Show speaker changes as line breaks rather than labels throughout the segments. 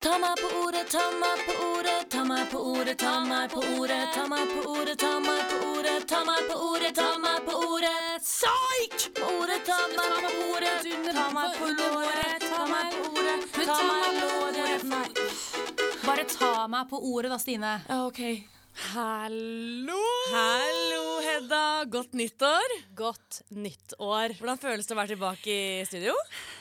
Ta meg på ordet, ta meg på ordet, ta meg på ordet, ta meg på ordet, ta meg på ordet, ta meg på ordet, ta meg på ordet, ta meg på ordet. Psyk! Ordet, ta meg på ordet, ta meg på låret, ta meg på ordet, ta meg på låret. Nei.
Bare ta meg på ordet da, Stine.
Ja, ok.
Hallo! Hallo, Hedda. Godt nyttår.
Godt nytt år.
Hvordan føles det å være tilbake i studio?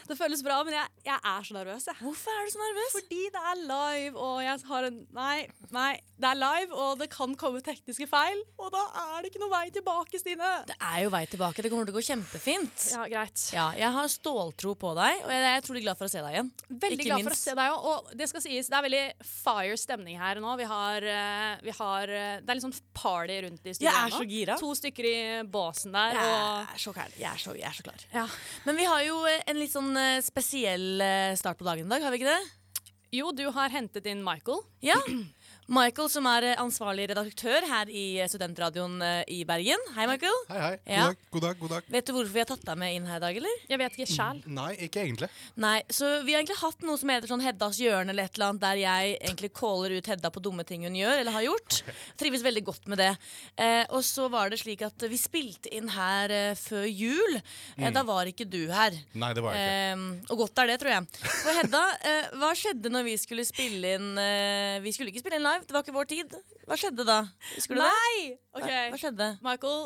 Det føles bra, men jeg, jeg er så nervøs. Jeg.
Hvorfor er du så nervøs?
Fordi det er live, og jeg har en Nei, nei. Det er live, og det kan komme tekniske feil. Og da er det ikke noe vei tilbake, Stine.
Det er jo vei tilbake. Det kommer til å gå kjempefint.
Ja, greit.
Ja, jeg har ståltro på deg, og jeg er utrolig glad for å se deg igjen.
Veldig glad for å se deg òg. Og det skal sies, det er veldig fire stemning her nå. Vi har, eh, vi har eh, Det er litt sånn party rundt i studio
Jeg er
nå.
så gira.
To stykker i båsen der,
Jeg
og
er så klar. Jeg er så, jeg er så klar.
ja.
Men vi har jo eh, en litt sånn eh, spesiell eh, start på dagen i dag, har vi ikke det?
Jo, du har hentet inn Michael.
Ja. Michael, som er eh, ansvarlig redaktør her i eh, Studentradioen eh, i Bergen. Hei, Michael.
Hei, hei. God
Ja.
dag, god dag. god dag
Vet du hvorfor vi har tatt deg med inn her i dag, eller?
Jeg vet ikke sjæl.
Nei, ikke egentlig.
Nei, så vi har egentlig hatt noe som heter sånn Heddas hjørne eller et eller annet, der jeg egentlig caller ut Hedda på dumme ting hun gjør eller har gjort. Trives veldig godt med det. Eh, og så var det slik at vi spilte inn her eh, før jul. Eh, da var ikke du her.
Nei, det var jeg ikke.
Eh, og godt er det, tror jeg. For Hedda, eh, hva skjedde når vi skulle spille inn eh, Vi skulle ikke spille inn live, det var ikke vår tid. Hva skjedde da? Husker du det?
Nei!
Hva-
OK.
Hva skjedde?
Michael,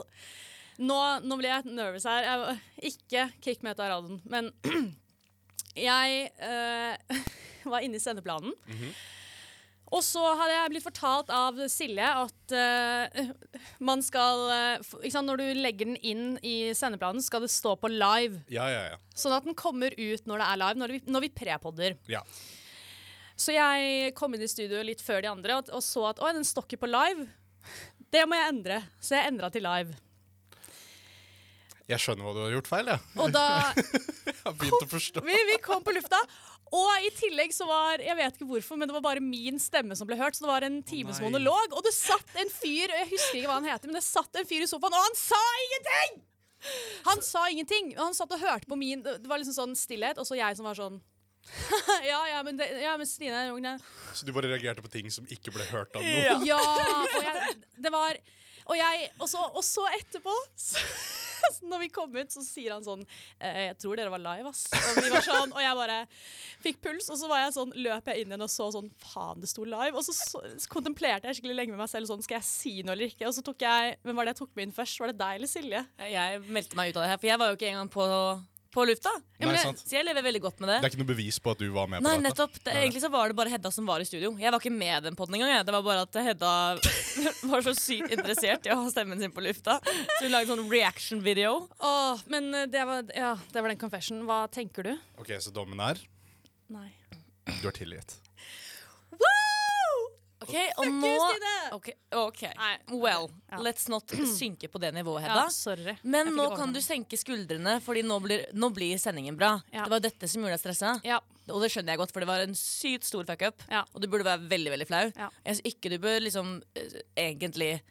nå, nå blir jeg nervøs her. Jeg, ikke kick meg ut av radioen, men jeg eh, var inne i sendeplanen. Og så hadde jeg blitt fortalt av Silje at eh, man skal eh, f- ikke sant, Når du legger den inn i sendeplanen, skal det stå på live.
Ja, ja, ja.
Sånn at den kommer ut når det er live, når vi, når vi prepodder.
ja.
Så jeg kom inn i studio litt før de andre og, og så at oi, den står ikke på live. Det må jeg endre. Så jeg endra til live.
Jeg skjønner hva du har gjort feil. Ja.
Og da
Jeg har begynt å forstå.
Vi, vi kom på lufta. Og i tillegg så var jeg vet ikke hvorfor, men det var bare min stemme som ble hørt. Så det var en times
nei.
monolog. Og det satt en fyr og jeg husker ikke hva han heter, men det satt en fyr i sofaen, og han sa ingenting! Han sa ingenting. og Han satt og hørte på min Det var liksom sånn stillhet, og så jeg som var sånn ja, ja, men, det, ja, men Stine Rogne
Så du bare reagerte på ting som ikke ble hørt av
Ja,
noen?
og jeg, det var Og, jeg, og, så, og så etterpå så, Når vi kom ut så sier han sånn eh, Jeg tror dere var live ass Og vi var sånn, og jeg bare fikk puls Og så var jeg sånn, løp jeg inn igjen og så sånn Faen, det sto live Og så, så, så kontemplerte jeg skikkelig lenge med meg selv Sånn, skal jeg si noe eller ikke Og så tok jeg, hvem var det jeg tok med inn først? Var det deg eller Silje?
Jeg meldte meg ut av det her, for jeg var jo ikke engang på, på lufta.
Nei,
Men jeg-
sant.
Så jeg lever veldig godt med det.
Det er ikke noe bevis på at du var med på
Nei,
dette.
nettopp. Det, egentlig så var det bare Hedda som var i studio. Jeg var ikke med i den podden engang. jeg. Det var bare at Hedda var så sykt interessert i å ha stemmen sin på lufta. Så hun lagde sånn reaction-video.
Åh, men eh, det var, ja, det var den confession Hva tenker du?
Ok, Så dommen er
Nei
du er tilgitt.
Ok, og nå Ok, ok.
Nei,
Well,
Ja.
let's not synke på det nivået,
Ja,
Hedda.
sorry
Men
Jeg fikk
nå
ikke
kan du
ordnet meg.
senke skuldrene, Fordi nå blir, nå blir sendingen bra.
Ja.
Det var jo dette som gjorde deg stressa.
Ja,
Og det skjønner jeg godt, for det var en sykt stor fuck-up.
Ja.
Og du burde være veldig veldig flau.
Ja.
Jeg syns ikke du bør liksom eh, egentlig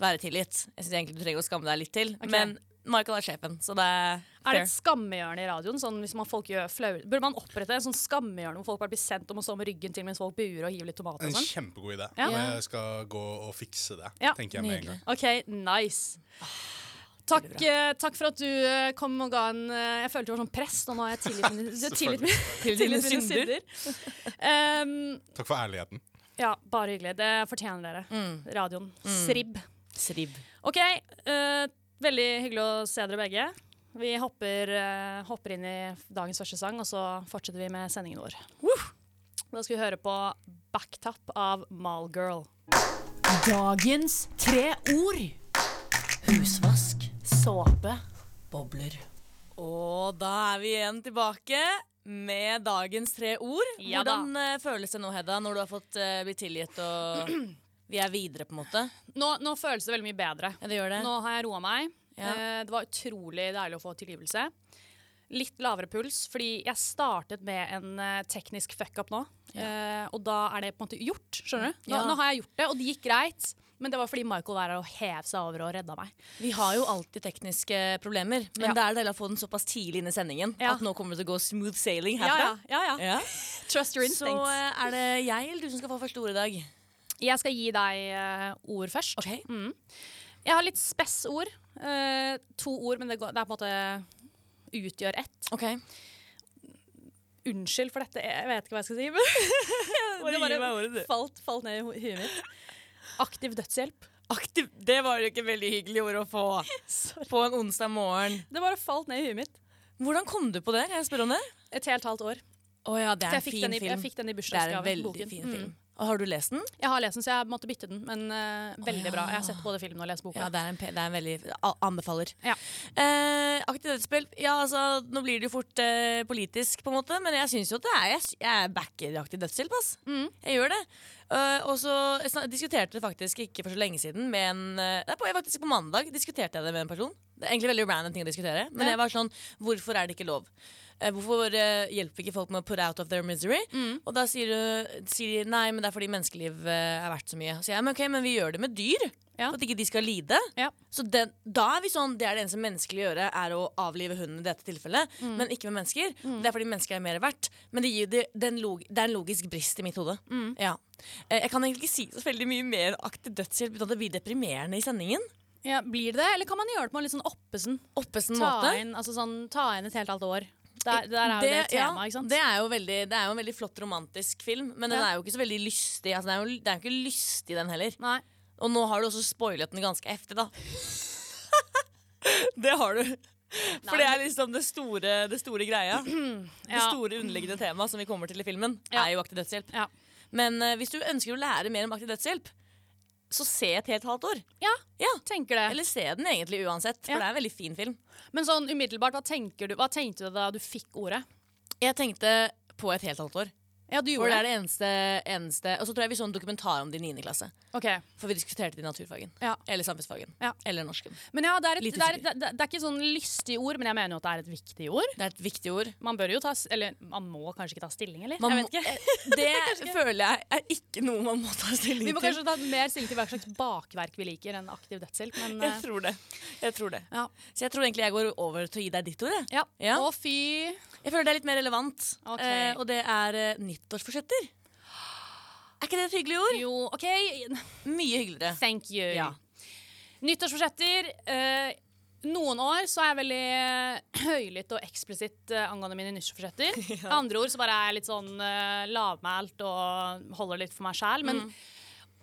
være tilgitt. Jeg syns egentlig du trenger å skamme deg litt til. Men Michael er sjefen, så det er
Er
fair.
det et skammehjørne i radioen? Sånn hvis man folk gjør flau Burde man opprette en sånn skammehjørne hvor folk bare blir sendt om å stå med ryggen til mens folk buer og hiver litt tomat
En
og sånn?
kjempegod idé.
Ja.
Og jeg skal gå og fikse det,
Ja,
tenker jeg med en
nydelig.
gang.
OK, nice. Takk, eh, takk for at du eh, kom og ga en eh, Jeg følte du var sånn press, og nå har jeg tilgitt mine- tilgitt mine
Til
tilgitt
dine
mine
synder.
synder. Ehm,
Takk for ærligheten.
ja, bare hyggelig. Det fortjener dere. Radioen. Sribb.
Sribb.
OK, eh, veldig hyggelig å se dere begge. Vi hopper, eh, hopper inn i dagens første sang, og så fortsetter vi med sendingen vår. Da skal vi høre på Backtap av Malgirl.
Dagens tre ord.
Husvask.
Såpe.
Bobler. Og da er vi igjen tilbake med dagens tre ord.
Ja da.
Hvordan eh, føles det nå, Hedda, når du har fått eh, blitt tilgitt og vi er videre, på en måte?
Nå, nå føles det veldig mye bedre.
Ja, det gjør det.
Nå har jeg roa meg.
Ja.
Eh, Det var utrolig deilig å få tilgivelse. Litt lavere puls, fordi jeg startet med en eh, teknisk fuck-up nå. Eh, og da er det på en måte gjort, skjønner du? Nå,
Ja.
nå har jeg gjort det, og det gikk greit. Men det var fordi Michael var her og hev seg over og redda meg.
Vi har jo alltid tekniske problemer, men
Ja.
det er deilig å få den såpass tidlig inn i sendingen
Ja.
at nå kommer det til å gå smooth sailing
Ja,
herfra.
ja, ja, ja.
Ja.
Trust your
Så
instincts.
eh, er det jeg eller du som skal få første ord i dag?
Jeg skal gi deg eh, ord først.
Ok.
Mm. Jeg har litt spessord. Eh, to ord, men det, går, det er på en måte utgjør ett.
Ok,
Unnskyld for dette, jeg vet ikke hva jeg skal si. Men det bare falt, falt ned i ho- huet mitt. Aktiv dødshjelp.
Aktiv. Det var jo ikke veldig hyggelig ord å få på en onsdag morgen.
Det bare falt ned i huet mitt.
Hvordan kom du på det? Kan jeg spørre om det?
Et helt halvt år.
Å ja, det
Så
er
jeg
en
fikk,
fin
den i, jeg
film.
fikk den i
Det er en
bursdagsgave.
veldig
boken.
fin film.
Mm.
Og har du lest den?
Jeg har lest den, så jeg måtte bytte den. Men eh, veldig
ja.
bra. Jeg har sett både filmen og lest boka.
Ja, det er en, pe- det er en veldig a- Anbefaler.
Ja.
Eh, aktiv dødshjelp. Ja, altså, nå blir det jo fort eh, politisk, på en måte, men jeg syns jo at det er Jeg, s- jeg backer aktiv dødshjelp, ass. Jeg gjør det. Eh, og så jeg snak- diskuterte det faktisk ikke for så lenge siden med en eh, Det er på, faktisk på mandag diskuterte jeg det med en person. Det er egentlig veldig random ting å diskutere, men jeg var sånn Hvorfor er det ikke lov? Eh, Hvorfor eh, hjelper vi ikke folk med å put out of their misery? Og da sier, du, sier de nei, men det er fordi menneskeliv eh, er verdt så mye. Så jeg, men ok, men vi gjør det med dyr.
Ja.
For at ikke de skal lide.
Ja.
Så den, da er vi sånn, det er det eneste menneskelige å gjøre, er å avlive hunden i dette tilfellet.
Mm.
Men ikke med mennesker. Det er fordi mennesker er mer verdt. Men det, gir, det, det, er en log, det er en logisk brist i mitt hode.
Mm.
Ja. Eh, Jeg kan egentlig ikke si så veldig mye mer aktiv dødshjelp uten at det blir deprimerende i sendingen.
Ja, blir det det, eller kan man gjøre det på en litt sånn oppesen
Oppesen
ta
måte.
inn, altså sånn, ta inn et helt halvt år? Der, der er jo det, et
ja,
tema, ikke sant?
Det er, jo veldig, det er jo en veldig flott romantisk film, men den
Ja.
er jo ikke så veldig lystig. Altså, den er jo, det er jo ikke lystig, den heller.
Nei.
Og nå har du også spoilet den ganske heftig, da. det har du. For det er liksom det store, det store greia. Det
Ja.
store underliggende temaet som vi kommer til i filmen,
Ja.
er jo aktiv dødshjelp.
Ja.
Men eh, hvis du ønsker å lære mer om aktiv dødshjelp, så se et helt halvt år.
Ja,
Ja.
tenker det.
Eller se den egentlig uansett, for
Ja.
det er en veldig fin film.
Men sånn umiddelbart, hva, tenker du, hva tenkte du da du fikk ordet?
Jeg tenkte på et helt halvt år.
Ja, du
For det
gjorde
er
det.
det eneste, eneste Og så tror jeg vi så en dokumentar om det i 9. klasse.
Ok.
For vi diskuterte det i naturfagen.
Ja.
Eller samfunnsfagen.
Ja.
Eller norsken.
Men ja, det er, et,
Lite
det, er, det, det er ikke sånn lystig ord, men jeg mener jo at det er et viktig ord.
Det er et viktig ord.
Man bør jo ta, s- eller man må kanskje ikke ta stilling, eller?
Man
jeg vet ikke.
må- det føler jeg er ikke noe man må ta stilling
Vi må
til.
kanskje ta mer stilling til hva slags bakverk vi liker enn aktiv dødshjelp, men
Jeg
eh,
tror det. Jeg tror det.
ja.
Så jeg tror egentlig jeg går over til å gi deg ditt ord. Jeg,
Ja.
Ja.
Å, fy.
jeg føler det er litt mer relevant.
Ok.
Eh, og det er eh, nyttårsforsetter. Er ikke det et hyggelig ord?
Jo, OK.
Mye hyggeligere.
Thank you.
Ja.
Nyttårsforsetter. eh, noen år så er jeg veldig eh, høylytt og eksplisitt eh, angående mine nyttårsforsetter. Andre ord så bare er jeg litt sånn eh, lavmælt og holder litt for meg sjæl. Men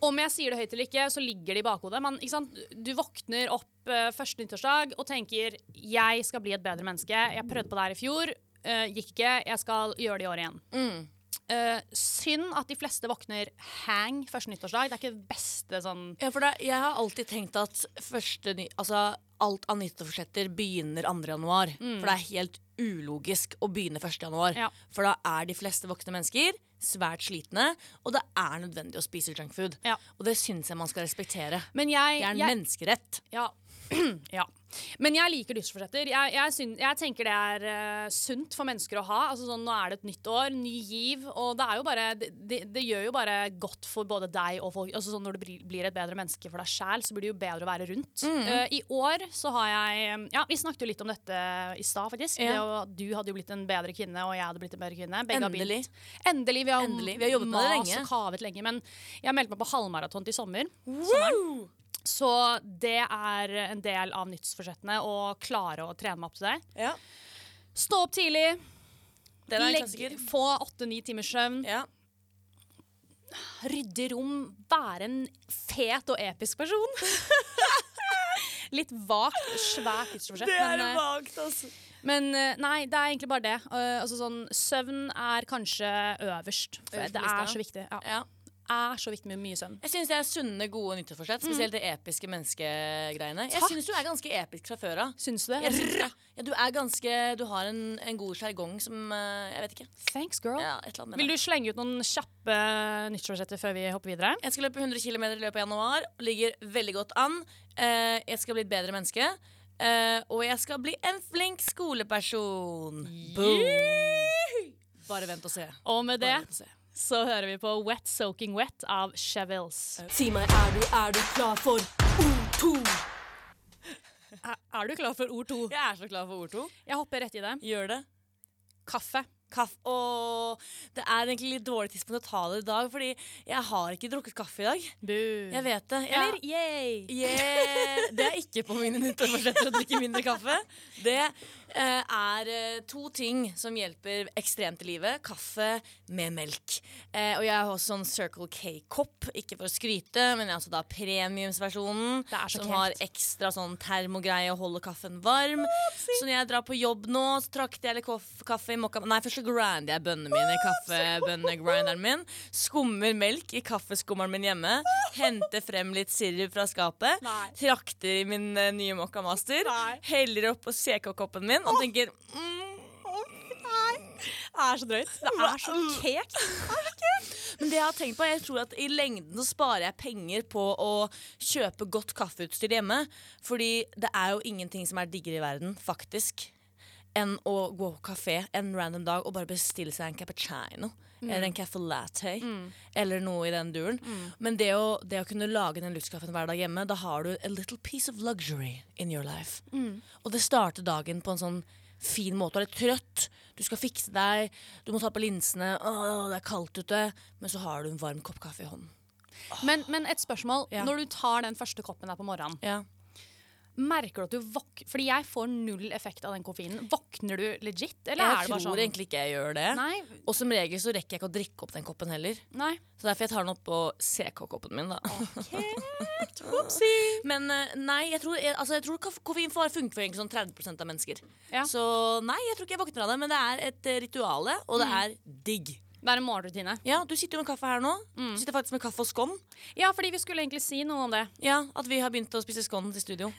om jeg sier det høyt eller ikke, så ligger det i bakhodet. Man, ikke sant? Du våkner opp eh, første nyttårsdag og tenker 'jeg skal bli et bedre menneske'. Jeg prøvde på det her i fjor, eh, gikk ikke. Jeg skal gjøre det i år igjen. Eh, synd at de fleste våkner hang første nyttårsdag. Det er ikke det beste sånn
Ja, for det, jeg har alltid tenkt at første, ny- altså, alt av nyttårsforsetter begynner 2. januar. For det er helt ulogisk å begynne 1. januar.
Ja.
For da er de fleste voksne mennesker svært slitne, og det er nødvendig å spise junkfood.
Ja.
Og det syns jeg man skal respektere.
Men jeg,
Det er en
jeg,
menneskerett.
ja. ja. Men jeg liker nyttårsforsetter. Jeg, jeg, syn- jeg tenker det er eh, sunt for mennesker å ha. Altså sånn, nå er det et nytt år, ny giv, og det, er jo bare, det, det, det gjør jo bare godt for både deg og folk. Altså sånn, når du blir, blir et bedre menneske for deg sjæl, så blir det jo bedre å være rundt.
Mm.
Eh, I år så har jeg Ja, vi snakket jo litt om dette i stad, faktisk. Det
Ja.
å- at du hadde jo blitt en bedre kvinne, og jeg hadde blitt en bedre kvinne. Begge har begynt-
Endelig.
Endelig. Vi har,
Endelig. Vi har jobbet med det
mast
lenge.
og kavet lenge. Men jeg meldte meg på halvmaraton til sommer. sommeren. Så det er en del av nyttårsforsettene å klare å trene meg opp til det.
Ja.
Stå opp tidlig,
Det er en
legg,
klassiker.
få åtte-ni timers søvn,
Ja.
rydde rom, være en fet og episk person. Litt vagt, svært nyttårsforsett. men, eh,
vagt, altså.
Men eh, nei, det er egentlig bare det. Eh, altså sånn, søvn er kanskje øverst. For
Øverst på
det
lista.
er så viktig. Ja.
Ja.
Er så viktig med mye søvn.
Jeg syns det er sunne, gode nyttårsforsett. Spesielt det episke menneskegreiene. Jeg
Takk.
syns du er ganske episk fra før av.
Syns du det?
Jeg synes det. Ja, du er ganske Du har en, en god sjargong som eh, Jeg vet ikke.
Thanks, girl.
Ja, et eller annet med
Vil
det.
du slenge ut noen kjappe nyttårsforsetter før vi hopper videre?
Jeg skal løpe 100 km i løpet av januar. Ligger veldig godt an. Eh, jeg skal bli et bedre menneske. Eh, og jeg skal bli en flink skoleperson. Boom! Bare vent og se.
Og med det
Bare vent og se.
så hører vi på Wet Soaking Wet av Chevils.
Si meg, er du, er du klar for O2?
Er du klar for ord to?
Jeg er så klar for ord to.
Jeg hopper rett i det.
Gjør det.
Kaffe.
Kaffe Åh, det er egentlig litt dårlig tidspunkt å ta det i dag, fordi jeg har ikke drukket kaffe i dag.
Bu.
Jeg vet det. Ja.
Eller yay!
Yeah, det er ikke på mine nyttårsforsetter å drikke mindre kaffe. Det eh, er eh, to ting som hjelper ekstremt i livet. Kaffe med melk. Eh, og jeg har også sånn Circle K-kopp, ikke for å skryte, men jeg har også da premiumsversjonen.
Det er så
Som
kekt.
har ekstra sånn termogreie og holder kaffen varm. Så når jeg drar på jobb nå, så trakter jeg litt koff- kaffe i mokka Nei, først så grinder jeg bønnene mine i kaffebønnegrinderen min. Skummer melk i kaffeskummeren min hjemme. Henter frem litt sirup fra skapet.
Nei.
Trakter i min eh, nye mokka master.
Nei.
Heller opp på CK-koppen min og tenker mm.
Det er så drøyt. Det er så kekt.
Men det jeg har tenkt på, jeg tror at i lengden så sparer jeg penger på å kjøpe godt kaffeutstyr hjemme. Fordi det er jo ingenting som er diggere i verden, faktisk, enn å gå på kafé en random dag og bare bestille seg en cappuccino. Eller en caffè latte. Eller noe i den duren. Men det å, det å kunne lage den luftkaffen hver dag hjemme, da har du a little piece of luxury in your life. Og det starter dagen på en sånn fin måte. Du er litt trøtt, du skal fikse deg, du må ta på linsene, åh, det er kaldt ute. Men så har du en varm kopp kaffe i hånden.
Men, men et spørsmål.
Ja.
Når du tar den første koppen der på morgenen,
Ja.
merker du at du våkner Fordi jeg får null effekt av den koffeinen. Våkner du legit, eller
Jeg
er det
tror
bare sånn
egentlig ikke jeg gjør det.
Nei.
Og som regel så rekker jeg ikke å drikke opp den koppen heller.
Nei.
Så derfor jeg tar den opp på CK-koppen min, da. Men eh, nei, jeg tror, jeg, altså, jeg tror kaff- koffein får- funker for egentlig sånn 30 av mennesker.
Ja.
Så nei, jeg tror ikke jeg våkner av det, men det er et eh, rituale, og det
Mm.
er digg.
Det er en morgenrutine.
Ja, du sitter jo med kaffe her nå.
Mm.
Du sitter faktisk med kaffe og skån.
Ja, fordi vi skulle egentlig si noe om det.
Ja, at vi har begynt å spise skån til studio.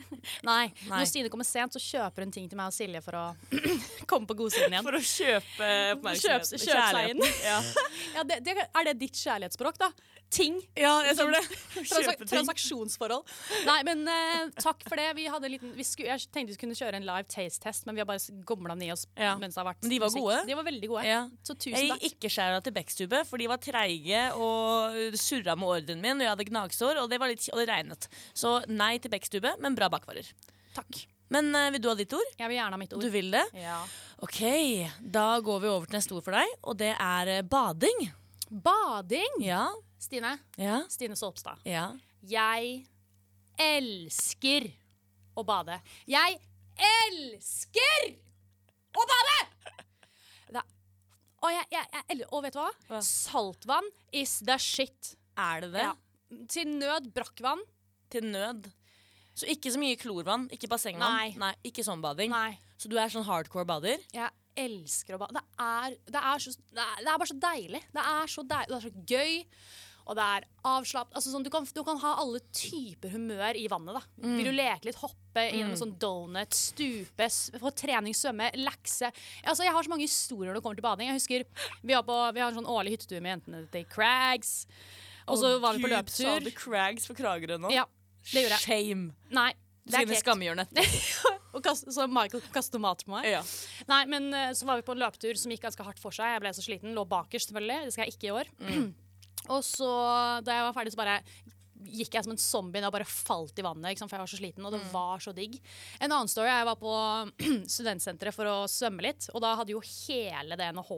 Nei.
Nei.
Når Stine kommer sent, så kjøper hun ting til meg og Silje for å komme på godsiden igjen.
For å kjøpe
Kjøps, kjøpseien. Ja. det, det, er det ditt kjærlighetsspråk, da? Ting.
Ja, jeg tror det.
Transak
Kjøpe ting.
transaksjonsforhold. Nei, men eh, takk for det. Vi hadde en liten, vi skulle, jeg tenkte vi kunne kjøre en live taste-test, men vi har bare gomla den i oss
Ja.
mens det har vært
Men de var
musikk.
gode.
De var veldig gode.
Ja.
Så
Jeg
tusen
gir
takk.
ikke skjæra til Bekstube, for de var treige og surra med ordren min. Og jeg hadde gnagsår, og det, var litt, og det regnet. Så nei til Bekstube, men bra bakvarer.
Takk.
Men eh, vil du ha ditt ord?
Jeg vil gjerne ha mitt
Du
ord.
vil det?
Ja.
Ok, da går vi over til neste ord for deg, og det er eh, bading.
Bading!
Ja,
Stine.
ja,
Stine Solpstad.
ja.
Jeg elsker å bade. Jeg elsker å bade! Det er- Å, jeg, jeg, jeg, el- og vet du hva?
Hva?
Saltvann is the shit.
Er det det?
Ja. Til nød brakkvann.
Til nød. Så ikke så mye klorvann, ikke
Nei.
bassengvann. Nei. ikke sånn bading.
Nei.
Så du er sånn hardcore bader?
Jeg elsker å bade. Det er, det er, så, det er, det er bare så deilig. Det er så, deil, det er så gøy. Og det er avslappet. Altså, sånn, du, kan, du kan ha alle typer humør i vannet. Da. Vil du leke litt, hoppe innom en sånn donut, stupe, s- få trening, svømme, lekse altså, Jeg har så mange historier når det kommer til bading. Jeg husker Vi, var på, vi har en sånn årlig hyttetue med jentene til Crags. Og så var vi på løpetur.
Crags for Kragerø nå?
Ja, det gjorde jeg.
Shame.
Nei,
Du
det
skal
er
inn i
kekt.
skammehjørnet.
Og kast- Så Michael kaster tomat på meg.
Ja.
Nei, men eh, så var vi på en løpetur som gikk ganske hardt for seg. Jeg ble så sliten. Lå bakerst, selvfølgelig. Det skal jeg ikke i år. og så, da jeg var ferdig, så bare gikk jeg som en zombie ned og bare falt i vannet. Ikke sant? For jeg var så sliten, og det var så digg. En annen story Jeg var på studentsenteret for å svømme litt, og da hadde jo hele det NHH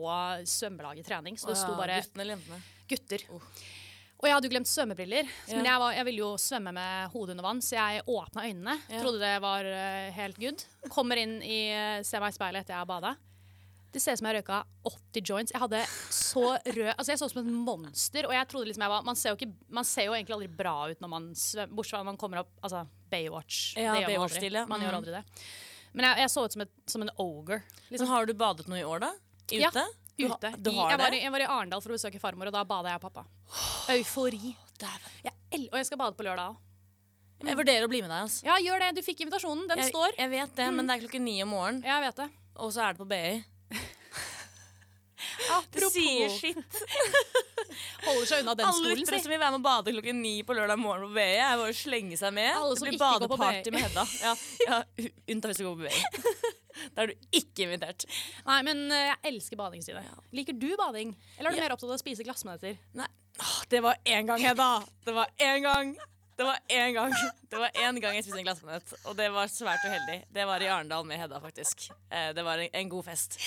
svømmelaget trening. Så det sto bare
Guttene eller jentene?
gutter.
Oh.
Og jeg hadde jo glemt svømmebriller, men jeg, var, jeg ville jo svømme med hodet under vann, så jeg åpna øynene. Trodde det var eh, helt good. Kommer inn i eh, Ser meg i speilet etter jeg har bada. Det ser ut som jeg røyka 80 joints. Jeg hadde så rød Altså jeg så ut som et monster. Og jeg trodde liksom jeg var Man ser jo, ikke, man ser jo egentlig aldri bra ut når man svømmer, bortsett fra når man kommer opp Altså Baywatch.
Ja,
det gjør man aldri.
Baywatch-stil, ja.
Man
Mm.
gjør aldri det. Men jeg, jeg så ut som, et, som en ogre.
Men Liksom, har du badet noe i år, da? Ute?
Ja,
Mm. Du har-
Ute.
Du har
I, jeg, var,
det?
i- jeg var i Arendal for å besøke farmor, og da bada jeg og pappa. Eufori. Jeg el og jeg skal bade på lørdag òg.
Jeg vurderer å bli med deg. Altså.
Ja, gjør det. Du fikk invitasjonen. Den
Jeg,
står.
jeg vet det, men det er klokken ni om morgenen,
Jeg vet det.
og så er det på BI.
Apropos
sitt.
holder seg unna den
Alle
skolen,
lyttere
si.
som vil være med og bade klokken ni på lørdag morgen på BI, er bare å slenge seg med.
Alle
det
som
blir
ikke går på
badeparty
BI.
med Hedda. Ja, ja, u- unntatt hvis du går på BI. Da er du ikke invitert.
Nei, men eh, jeg elsker bading, Stine. Liker du bading? Eller er du mer opptatt av å spise glassmaneter?
Nei. Åh, det var én gang, Hedda. Det var én gang. Det var én gang Det var én gang jeg spiste en glassmanet, og det var svært uheldig. Det var i Arendal med Hedda, faktisk. Eh, Det var en, en god fest.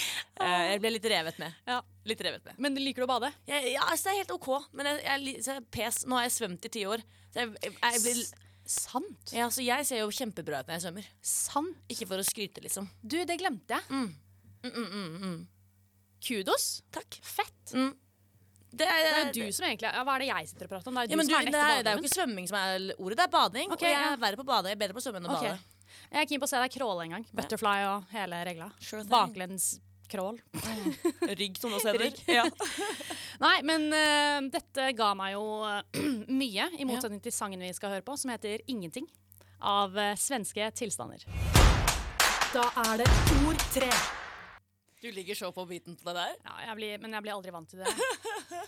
Eh, Jeg ble litt revet med.
Ja.
Litt revet med.
Men liker du å bade?
Jeg, ja, altså, det er helt OK, men jeg, jeg, li- så jeg pes. Nå har jeg svømt i ti år. Så jeg, jeg, jeg blir
Sant.
ja, så jeg ser jo kjempebra ut når jeg svømmer.
Sant.
Ikke for å skryte, liksom.
Du, det glemte jeg. Mm. Kudos. Takk. mm, Fett.
Det er,
Det er jo du som egentlig ja, Hva er det jeg sitter og prater om? Det er
ja,
jo sånn du
men du,
som
det,
er den
er, det
ekte
er jo
baderen.
ikke svømming som er ordet, det er bading.
Ok,
og jeg
ja.
er verre på å bade. Jeg er bedre på å svømme enn å
Ok.
bade.
Jeg er keen på å se deg crawle en gang. Butterfly og hele regla.
Sure thing.
Baklengs crawl.
Rygg, som det også heter. Ja.
Nei, men eh, dette ga meg jo eh, mye, i motsetning til sangen vi skal høre på, som heter 'Ingenting', av eh, svenske tilstander. Da er det ord tre.
Du ligger så på biten på det der.
Ja, jeg blir, men jeg blir aldri vant til det.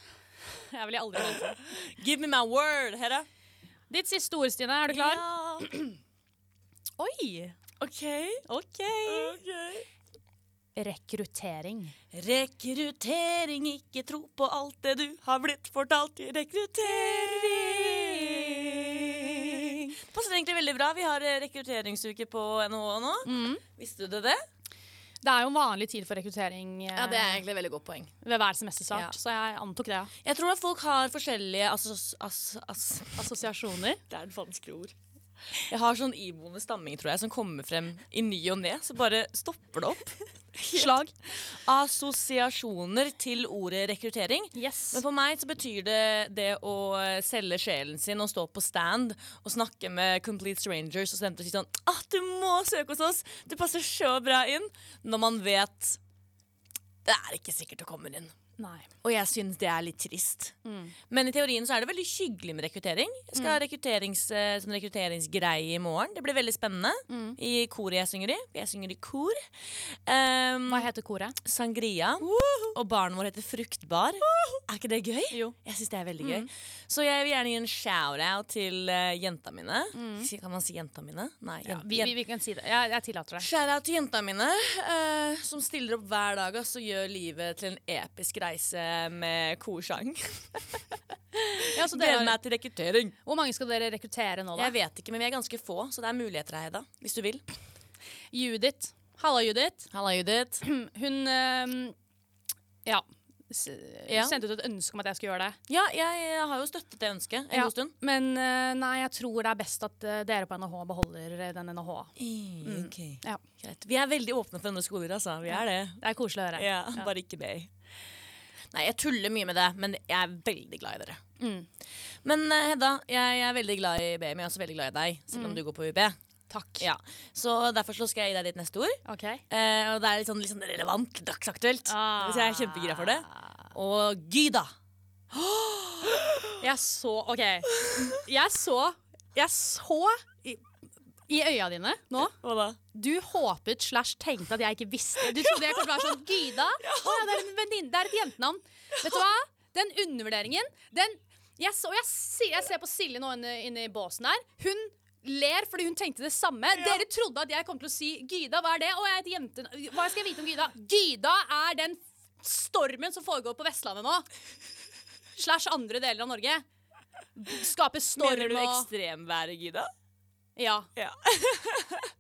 Jeg blir aldri vant til det.
Give me my word, Hedda.
Ditt siste ord, Stine. Er du klar? Oi!
OK.
Rekruttering.
Rekruttering, ikke tro på alt det du har blitt fortalt. Rekruttering. Det passer egentlig veldig bra. Vi har eh, rekrutteringsuke på NHO nå. Visste du det?
Det er jo en vanlig tid for rekruttering eh,
egentlig et veldig godt poeng.
ved hver
Ja.
semesterstart, så jeg antok det. ja.
Jeg tror at folk har forskjellige assos... ass- ass-
Assosiasjoner.
Det er et vanskelig ord. Jeg har sånn iboende stamming, tror jeg, som kommer frem i ny og ne. Så bare stopper det opp. Slag. Assosiasjoner til ordet rekruttering.
Yes.
Men for meg så betyr det det å selge sjelen sin og stå på stand og snakke med complete strangers og studenter og si sånn ah, du må søke hos oss! Du passer så bra inn! Når man vet Det er ikke sikkert du kommer inn.
Nei.
Og jeg syns det er litt trist.
Mm.
Men i teorien så er det veldig hyggelig med rekruttering. Jeg skal ha rekrutterings, eh, sånn rekrutteringsgreie i morgen. Det blir veldig spennende.
Mm.
I koret jeg synger i. Jeg synger i kor. Um,
Hva heter koret?
Sangria. Og baren vår heter Fruktbar. Er ikke det gøy? Jeg syns det er veldig gøy.
Mm.
Så jeg vil gjerne gi en shout-out til eh, jenta mine. Si- Kan man si jenta mine? Nei.
Mm. Ja,
jen-
vi,
jen-
vi, vi kan si det. Jeg, jeg tillater det.
Shout-out til jenta mine, eh, som stiller opp hver dag ass, og gjør livet til en episk reise med korsang.
Ja, så
Gleder
dere,
meg til rekruttering.
hvor mange skal dere rekruttere nå, da?
Jeg vet ikke, men vi er ganske få, så det er muligheter her, Hedda. Hvis du vil.
Judith. Halla, Judith.
Halla, Judith.
Hun ehm, ja, s eh,
Ja.
sendte ut et ønske om at jeg skulle gjøre det.
Ja, jeg har jo støttet det ønsket en
Ja,
god stund.
Men eh, nei, jeg tror det er best at eh, dere på NHH beholder eh, den NHH. Ja.
Mm. Greit. Vi er veldig åpne for andre skoler, altså. Vi er det.
Det er koselig å høre.
Ja, bare ikke meg. Nei, jeg tuller mye med det, men jeg er veldig glad i dere. Men eh, Hedda, jeg er veldig glad i BI, men jeg er også veldig glad i deg, selv om du går på UB.
Takk.
Ja. Så derfor så skal jeg gi deg ditt neste ord.
Ok.
Eh, og det er litt sånn, litt sånn relevant, dagsaktuelt.
Ah.
Så jeg er kjempegira for det. Og Gyda.
Jeg så OK. Jeg så Jeg så i, i øya dine nå
Hva da?
Du håpet slash tenkte at jeg ikke visste. Du trodde jeg kom til å være sånn Gyda? Å, ja, det, er en venninne- det er et jentenavn. Vet du hva? Den undervurderingen den, jeg, så, jeg, si- jeg ser på Silje nå inne, inne i båsen her. Hun ler fordi hun tenkte det samme. Dere trodde at jeg kom til å si Gyda, hva er det? Å, jeg er et jente... Hva skal jeg vite om Gyda? Gyda er den stormen som foregår på Vestlandet nå. Slash andre deler av Norge. Skaper storm
Mener du
og
ekstremværet, Gyda?
Ja.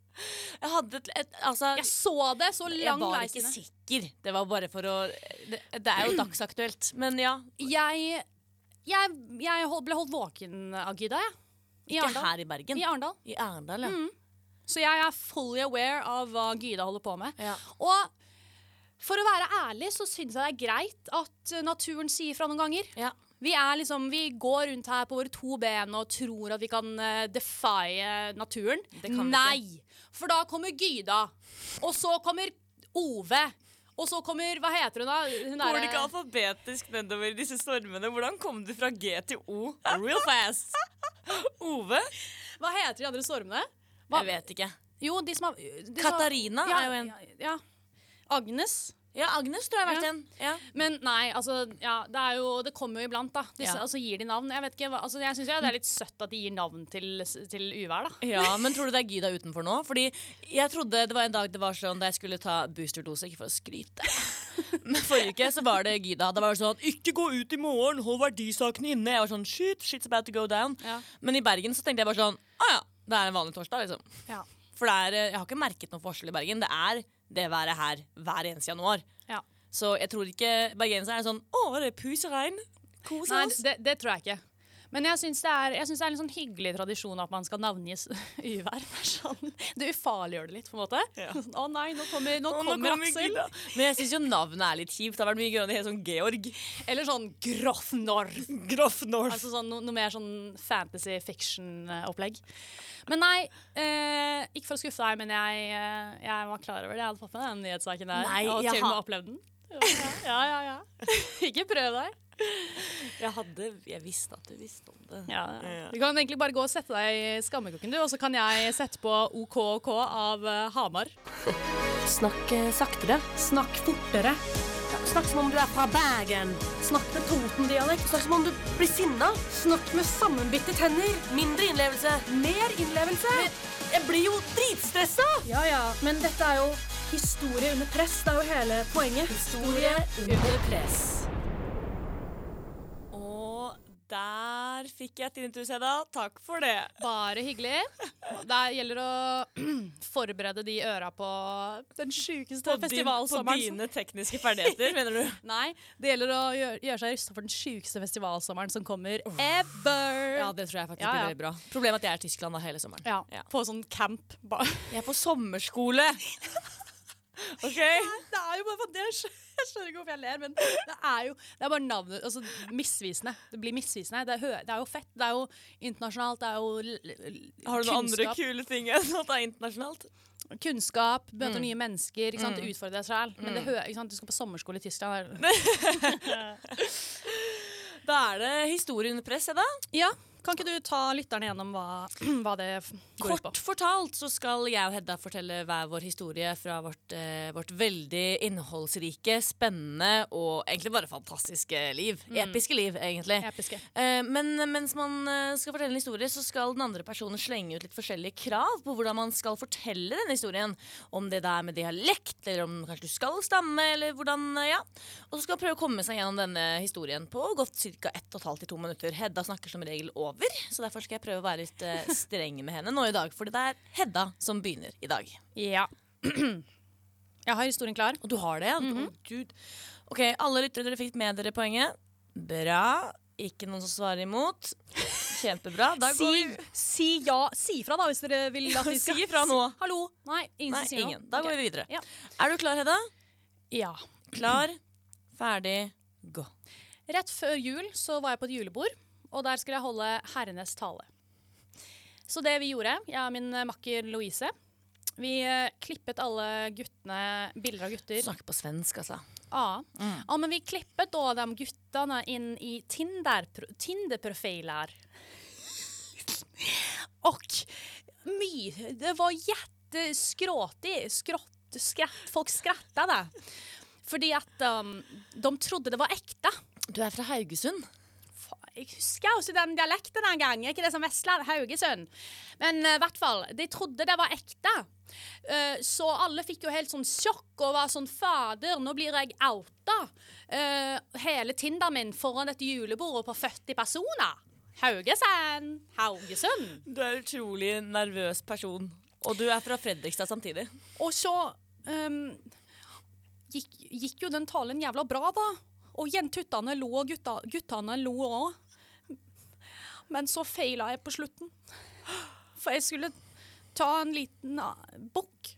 Jeg hadde et, et altså,
Jeg så det så
jeg
lang
var
vei
ikke
siden.
sikker. Det var bare for å Det, det er jo dagsaktuelt. Men ja.
Jeg, jeg, jeg hold, ble holdt våken av Gyda, jeg. I
Ikke
Arendal.
her i Bergen.
I Arendal.
I Arendal, ja.
Så jeg er fully aware av hva Gyda holder på med.
Ja.
Og for å være ærlig så syns jeg det er greit at eh, naturen sier fra noen ganger.
ja.
Vi, er liksom, vi går rundt her på våre to ben og tror at vi kan eh, defie naturen.
Det kan vi
Nei! For da kommer Gyda, og så kommer Ove. Og så kommer Hva heter hun, da? Hun
Går
derre-
det ikke alfabetisk nedover i disse stormene? Hvordan kom du fra G til O real fast? Ove?
hva heter de andre stormene?
Jeg vet ikke.
Jo, de som har de som har-
Katarina
ja,
er jo en
Ja, ja. Agnes.
Ja, Agnes tror jeg har vært
Ja.
en. Ja.
Men nei, altså ja, det, er jo, det kommer jo iblant, da. Disse,
Ja.
Altså gir de navn. Jeg vet ikke, hva- altså, jeg syns det er litt søtt at de gir navn til, til uvær, da.
Ja, men tror du det er Gyda utenfor nå? Fordi jeg trodde det var en dag det var sånn da jeg skulle ta boosterdose, ikke for å skryte. Men forrige uke så var det Gyda. Det var sånn 'Ikke gå ut i morgen, hold verdisakene inne'. Jeg var sånn 'Shit, shit's about to go down'.
Ja.
Men i Bergen så tenkte jeg bare sånn 'Å ja, det er en vanlig torsdag', liksom.
Ja.
For det er, eh, jeg har ikke merket noen forskjell i Bergen. Det er det været her hver eneste januar.
Ja.
Så jeg tror ikke bergensere er sånn 'Å, det er pus og regn'. Kos
Nei,
oss.
det, det tror jeg ikke. Men jeg syns det, er- jeg syns det er en litt sånn hyggelig tradisjon at man skal navngis uvær. Det er Sånn. Det ufarliggjør det litt, på en måte. Sånn, Å nei, nå kommer, nå
Å, nå
kommer
kommer
Aksel.
Gyda. Men jeg syns jo navnet er litt kjipt. Det har vært mye gøyere enn det hele sånn Georg.
Eller sånn Grofnorf.
Grafnorf.
Altså sånn, no, noe mer sånn fantasy fiction-opplegg. Men nei, eh, ikke for å skuffe deg, men jeg, eh, jeg var klar over det. Jeg hadde fått med den nyhetssaken der.
Nei,
og
jeg
til og med
har-
opplevd den. Ja, ja, ja. ja. ikke prøv
Altså,
deg.
Jeg hadde Jeg visste at du visste om det.
Ja, ja. Du kan egentlig bare gå og sette deg i skammekokken, du, og så kan jeg sette på OKOK av eh, Hamar.
Snakk eh, saktere. Snakk fortere. Ja, Snakk som om du er fra Bergen. Snakk med Toten-dialekt. Snakk som om du blir sinna. Snakk med sammenbitte tenner. Mindre innlevelse. Mer innlevelse. jeg blir jo dritstressa! Ja ja, men dette er jo historie under press. Det er jo hele poenget. Historie under press.
Og der fikk jeg tinnitus, Hedda. Takk for det.
Bare hyggelig. Det gjelder å forberede de øra på den sjukeste festivalsommeren. som-
dine tekniske ferdigheter, mener du?
Nei, det gjelder å gjøre, gjøre seg rusta for den sjukeste festivalsommeren som kommer ever.
Ja, det tror jeg faktisk
Ja, ja.
blir veldig bra. Problemet er at jeg er i Tyskland da hele sommeren.
Ja,
Ja.
På sånn camp. Ba-
Jeg er på sommerskole. OK?
Det er jo bare for det. Jeg skjø- jeg skjønner ikke hvorfor jeg ler, men det er jo det er bare navnet altså, Misvisende. Det blir misvisende. Det er, hø- det er jo fett. Det er jo internasjonalt. Det er jo l- l-
Har du noen andre
kunnskap.
kule ting enn at det er internasjonalt?
kunnskap,
Mm.
møter nye mennesker, ikke sant? utfordre deg selv. Men det hø ikke sant? du skal på sommerskole i Tyskland. det er-
Da er det historie under press, Hedda.
Ja, kan ikke du ta lytterne gjennom hva, hva det f- går ut på?
Kort fortalt så skal jeg og Hedda fortelle hver vår historie fra vårt, eh, vårt veldig innholdsrike, spennende og egentlig bare fantastiske liv. Episke liv, egentlig.
Episke.
Eh, men mens man eh, skal fortelle en historie, så skal den andre personen slenge ut litt forskjellige krav på hvordan man skal fortelle denne historien. Om det da er med dialekt, eller om kanskje du skal stamme, eller hvordan eh, Ja. Og så skal man prøve å komme seg gjennom denne historien på godt ca. 1 12 til 2 minutter. Hedda snakker som regel over, så derfor skal jeg prøve å være litt eh, streng med henne nå i dag. Fordi det er Hedda som begynner i dag.
Ja. Jeg har historien klar.
Og du har det, ja? Å, Gud. Ok, alle lyttere dere fikk med dere poenget. Bra. Ikke noen som svarer imot. Kjempebra. Da går vi
Si, si ja. Si fra, da, hvis dere vil at vi skal
Si ifra nå.
Hallo. Nei, ingen
Nei,
som sier noe.
ingen. Da går
Ok.
vi videre.
Ja.
Er du klar, Hedda?
Ja.
Klar, ferdig, gå.
Rett før jul så var jeg på et julebord, og der skulle jeg holde herrenes tale. Så det vi gjorde, jeg og min makker Louise, vi eh, klippet alle guttene, bilder av gutter.
Snakke på svensk, altså.
Ja. ja, men vi klippet da de guttene inn i Tinder- Tinder-profiler. Og mye Det var jätteskråtig. Skrått, skratt, folk skrattet. Fordi at um, de trodde det var ekte.
Du er fra Haugesund.
Fa- Jeg husker også den dialekten en gang. Ikke det som Vestland, Haugesund. Men eh, i hvert fall, de trodde det var ekte. Eh, så alle fikk jo helt sånn sjokk og var sånn Fader, nå blir jeg outa. eh, hele Tinderen min foran et julebord på 40 personer. Haugesund. Haugesund.
Du er en utrolig nervøs person. Og du er fra Fredrikstad samtidig.
Og så ehm, gikk, gikk jo den talen jævla bra, da. Og jentuttene lo, og gutta, guttene lo òg. Men så feila jeg på slutten. For jeg skulle ta en liten ah, bukk,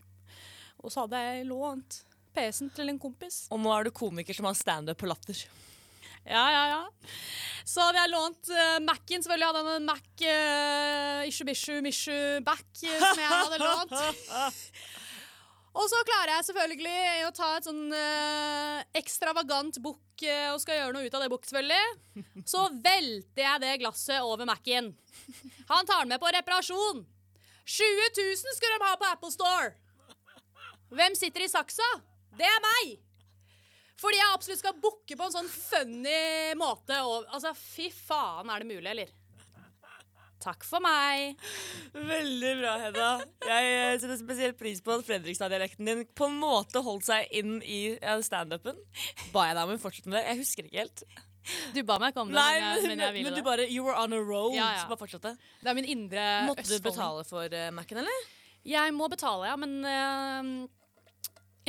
og så hadde jeg lånt PC-en til en kompis.
Og nå er du komiker som har standup på latter.
Ja, ja, ja. Så hadde jeg lånt uh, Mac-en. Selvfølgelig hadde han en Mac uh, Ishubishu Mishu Back eh, som jeg hadde lånt. Og så klarer jeg selvfølgelig å ta et sånn eh, ekstravagant bukk eh, og skal gjøre noe ut av det bukk, selvfølgelig. Så velter jeg det glasset over Mac-en. Han tar den med på reparasjon. 20 000 skulle de ha på Apple Store. Hvem sitter i saksa? Det er meg! Fordi jeg absolutt skal booke på en sånn funny måte. Og, altså, fy faen, er det mulig, eller? Takk for meg.
Veldig bra, Hedda. Jeg eh, setter spesielt pris på at Fredrikstad-dialekten din på en måte holdt seg inn i eh, standupen. Ba jeg deg om å fortsette med det? Jeg husker ikke helt.
Du ba meg komme,
Nei,
men, jeg,
men,
men jeg
men
ville
du
det.
bare You were on a roll.
Ja, ja.
Så bare fortsette.
Det er min indre
Måtte du
østfolding.
betale for uh, Mac-en, eller?
Jeg må betale, ja, men eh,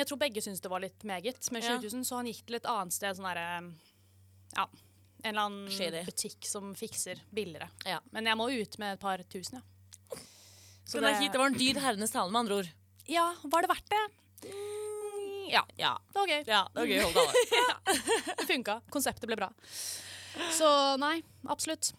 jeg tror begge syntes det var litt meget med
Ja.
20 000, så han gikk til et annet sted, sånn derre Ja. En eller annen
Shady.
butikk som fikser billigere.
Ja.
Men jeg må ut med et par tusen, ja. Så
Så det, er kjipt, det var en dyr herrenes tale, med andre ord.
Ja, var det verdt det? Ja.
Ja.
Det var gøy.
Mm. ja det var gøy å holde av.
Det funka. Konseptet ble bra. Så nei, absolutt.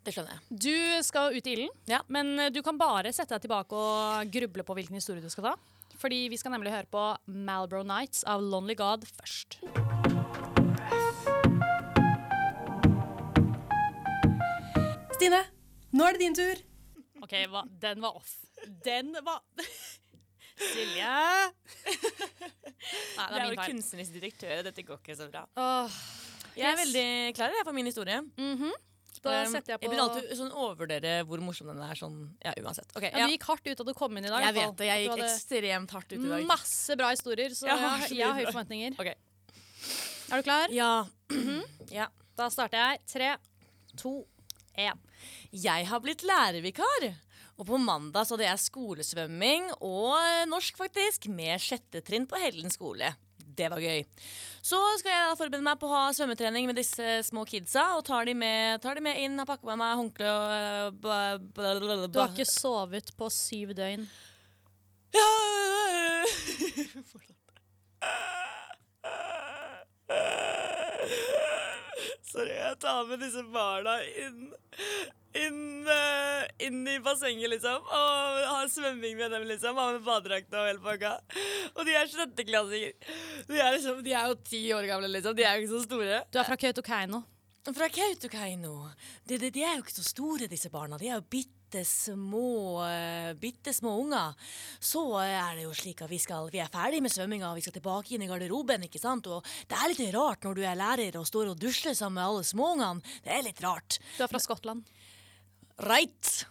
Det skjønner jeg.
Du skal ut i ilden,
Ja.
men eh, du kan bare sette deg tilbake og gruble på hvilken historie du skal ta. Fordi vi skal nemlig høre på Malbro Nights av Lonely God først.
Stine, nå er det din tur.
OK, hva, den var off. Den var Silje! Nei, det
Jeg er
er min
jo
feil.
kunstnerisk direktør, og dette går ikke så bra.
Åh,
Jeg er
Yes.
veldig klar jeg, for min historie.
da
Um,
setter
Mm,
Ehm, jeg på
jeg begynner alltid sånn overvurdere hvor morsom den er sånn, ja, uansett. Ok,
ja,
ja.
Du gikk hardt ut da du kom inn i dag.
Jeg
i hvert
vet det, jeg
fall.
gikk
Du hadde
ekstremt hardt ut i dag.
Masse bra historier, så
Ja,
jeg, har- jeg har
veldig
høye
bra.
forventninger.
Ok.
Er du klar?
Ja,
Da starter jeg. Tre, to, én.
jeg har blitt lærervikar. Og på mandag så hadde jeg skolesvømming og eh, norsk faktisk med sjette trinn på Hellen skole. Det var gøy. Så skal jeg da forberede meg på å ha svømmetrening med disse små kidsa. Og tar de med, tar de med inn, har pakket med meg håndkle og eh, ba- ba- ba-
Du har ikke sovet på syv døgn.
Ja. Sorry, jeg tar med disse barna inn inn, eh, inn i bassenget, liksom. Og har svømming med dem, liksom. Har med badedrakt og hele pakka. Og de er sjetteklassinger. De er, liksom, de er jo ti år gamle, liksom. De er jo ikke så store.
Du er fra Kautokeino.
Fra Kautokeino. De, de, de er jo ikke så store, disse barna. De er jo bitte små, eh, bitte små unger. Så eh, er det jo slik at vi, skal, vi er ferdig med svømminga, vi skal tilbake inn i garderoben. ikke sant? Og det er litt rart når du er lærer og står og dusjer sammen med alle småungene. Det er litt rart.
Du er fra Skottland.
Right.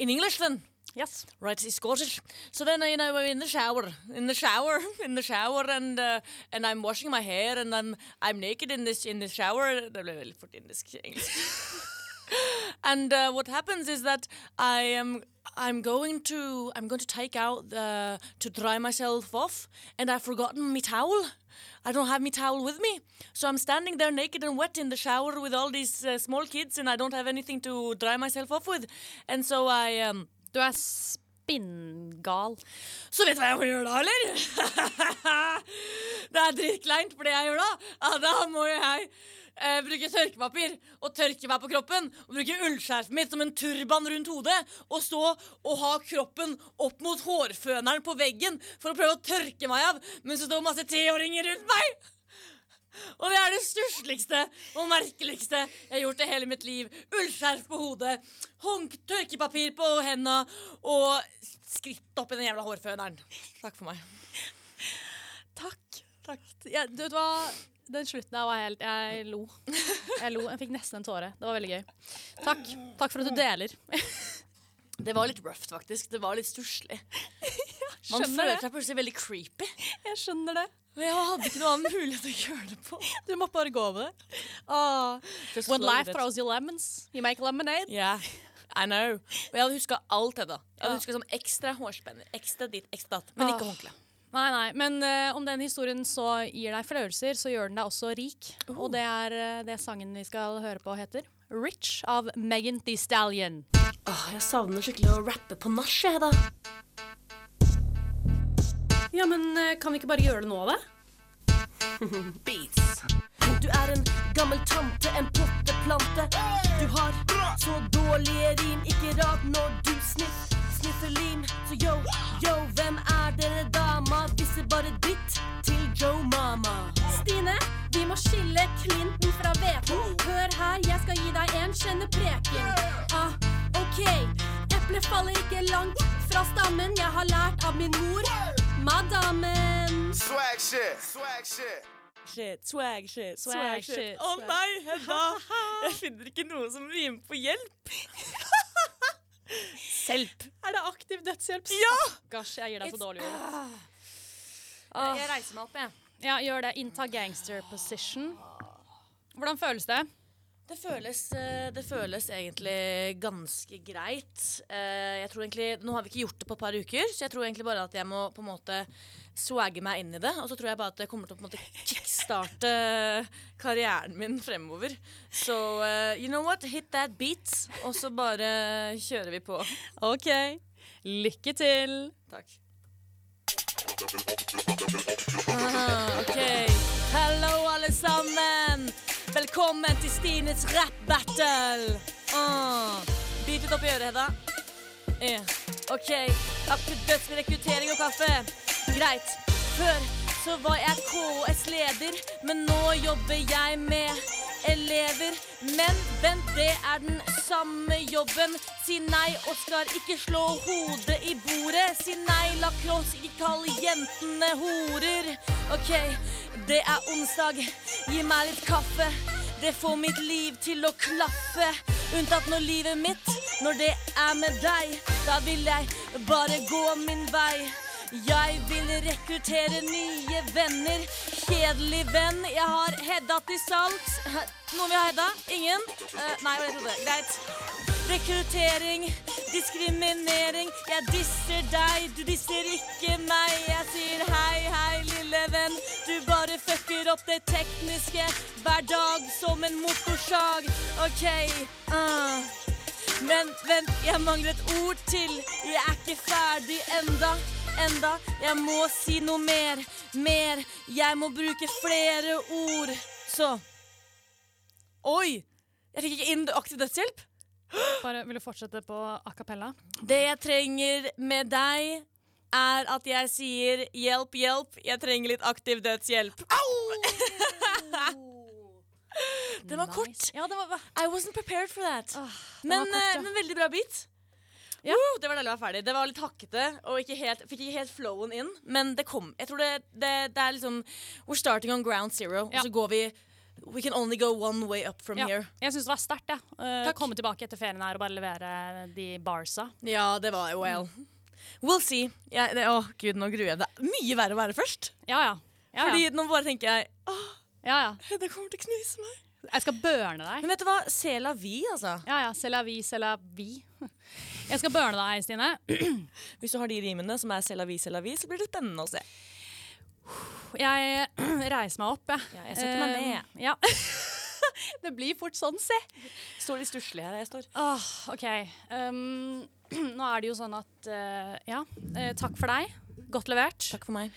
In English, then.
Yes.
Right, it's Scottish. So then, you know, we're in the shower, in the shower, in the shower, and uh, and I'm washing my hair, and I'm I'm naked in this in the shower. Det ble veldig fort indisk engelsk. and uh, what happens is that I am I'm going to I'm going to take out the to dry myself off, and I've forgotten my towel. I don't have my towel with me, so I'm standing there naked and wet in the shower with all these uh, small kids, and I don't have anything to dry myself off with, and so I. Um,
Du er spinngal.
så vet du hva jeg må gjøre da, eller? det er dritkleint for det jeg gjør da. Ja, da må jo jeg eh, bruke tørkepapir og tørke meg på kroppen. Og bruke ullskjerfet mitt som en turban rundt hodet. Og stå og ha kroppen opp mot hårføneren på veggen for å prøve å tørke meg av mens det står masse treåringer rundt meg. Og det er det stussligste og merkeligste jeg har gjort i hele mitt liv. Ullskjerf på hodet, håndk, tørkepapir på henda og skritt opp i den jævla hårføneren. Takk for meg.
Takk. Takk. Jeg, du vet hva? Den slutten der var helt Jeg lo. Jeg lo. Jeg fikk nesten en tåre. Det var veldig gøy. Takk. Takk for at du deler.
Det var litt rough, faktisk. Det var litt stusslig. Man
skjønner
føler
det.
seg plutselig veldig creepy.
Jeg skjønner det.
Men jeg hadde ikke noen annen mulighet å gjøre det på.
Du må bare gå over det. Ah. When life throws you lemons, you make lemonade.
Yeah, I know. Og jeg hadde huska alt det, da. Jeg hadde husket som ekstra hårspenner, ekstra dit, ekstra datt. Men ikke
Ah.
håndkle.
Nei, nei, men eh, om den historien så gir deg flauelser, så gjør den deg også rik.
Oh.
Og det er eh, det sangen vi skal høre på heter. Rich av Megan Thee Stallion.
Åh, Ah, jeg savner skikkelig å rappe på nach, jeg, da.
Ja, men eh, kan vi ikke bare gjøre det nå, da?
beats. Du er en gammel tante, en potteplante. Du har så dårlige rim, ikke rart når du sniff, sniffer lim. Så yo, yo, hvem er dere dama? Viser bare dritt til Joe Mama.
Stine, vi må skille Clinton fra hveten. Hør her, jeg skal gi deg en kjennepreken. Ah, ok. Eplet faller ikke langt fra stammen. Jeg har lært av min mor, madammen.
Swag shit. Swag shit.
shit, swag shit,
Swag shit,
Å
swag.
nei, Hedda! Jeg finner ikke noe som rimer på hjelp. Selp.
Er det aktiv dødshjelp?
Ja!
Stakkars, jeg gir deg så dårlig ord.
Jeg reiser meg opp, jeg.
Ja, gjør det. Innta gangster position. Hvordan føles det?
Det føles, eh, det føles egentlig ganske greit. Eh, Jeg tror egentlig, Nå har vi ikke gjort det på et par uker, så jeg tror egentlig bare at jeg må på en måte swagge meg inn i det. Og så tror jeg bare at det kommer til å på en måte kickstarte karrieren min fremover. Så eh, you know what, hit that beat, og så bare kjører vi på.
OK. Lykke til.
Takk. Ah, ok. Hallo, alle sammen. Velkommen til Stines rap-battle. Ah, Bit litt opp i øret, Hedda. Eh, OK. Absolutt døds med rekruttering og kaffe. Greit. Før så var jeg KS-leder, men nå jobber jeg med elever. Men vent, det er den samme jobben. Si nei, Oskar, ikke slå hodet i bordet. Si nei, lacrosse, ikke kall jentene horer. OK, det er onsdag. Gi meg litt kaffe. Det får mitt liv til å klaffe. Unntatt når livet mitt, når det er med deg. Da vil jeg bare gå min vei. Jeg vil rekruttere nye venner. Kjedelig venn, jeg har Hedda til salgs. Noen vil ha Hedda? Ingen? Eh, nei, jeg trodde. Greit. Rekruttering, diskriminering. Jeg disser deg, du disser ikke meg. Jeg sier hei, hei, lille venn. Du bare fucker opp det tekniske hver dag som en motorsag. OK. ah. Men vent, jeg mangler et ord til. Jeg er ikke ferdig enda. Enda. Jeg må si noe mer. Mer. Jeg må bruke flere ord. Så Oi! Jeg fikk ikke inn aktiv dødshjelp.
Bare Vil du fortsette på a cappella?
Det jeg trenger med deg, er at jeg sier hjelp, hjelp, jeg trenger litt aktiv dødshjelp. Au! Den var kort.
Ja, det var
I wasn't prepared for that.
den
men,
var kort,
eh,
ja.
men veldig bra beat.
Ja.
Woo, det var deilig å være ferdig. Det var litt hakkete og ikke helt, fikk ikke helt flowen inn. Men det kom. Jeg tror det, det, det er liksom We're starting on ground zero,
Ja.
og så går vi We can only go one way up from
Ja.
here.
Jeg syns det var sterkt, jeg. Ja. Eh, Komme tilbake etter ferien her og bare levere de barsa.
Ja, det var well. We'll see. Jeg, det, å, gud, nå gruer jeg meg. Det er mye verre å være først.
Ja ja. Ja ja.
Fordi nå bare tenker jeg Åh,
ja, ja.
det kommer til å knuse meg.
Jeg skal børne deg.
Men vet du hva? C'est la vie, altså.
Ja ja. C'est la vie, c'est la vie. Jeg skal børne deg, Stine.
Hvis du har de rimene som er c'est la vie, c'est la vie, så blir det spennende å se.
Jeg reiser meg opp, jeg.
Ja, jeg setter meg ned.
Eh, Ja. Det blir fort sånn, se.
Står litt stusslig her jeg står.
Åh, OK. Um, nå er det jo sånn at eh, Ja, eh, takk for deg. Godt levert.
Takk for meg.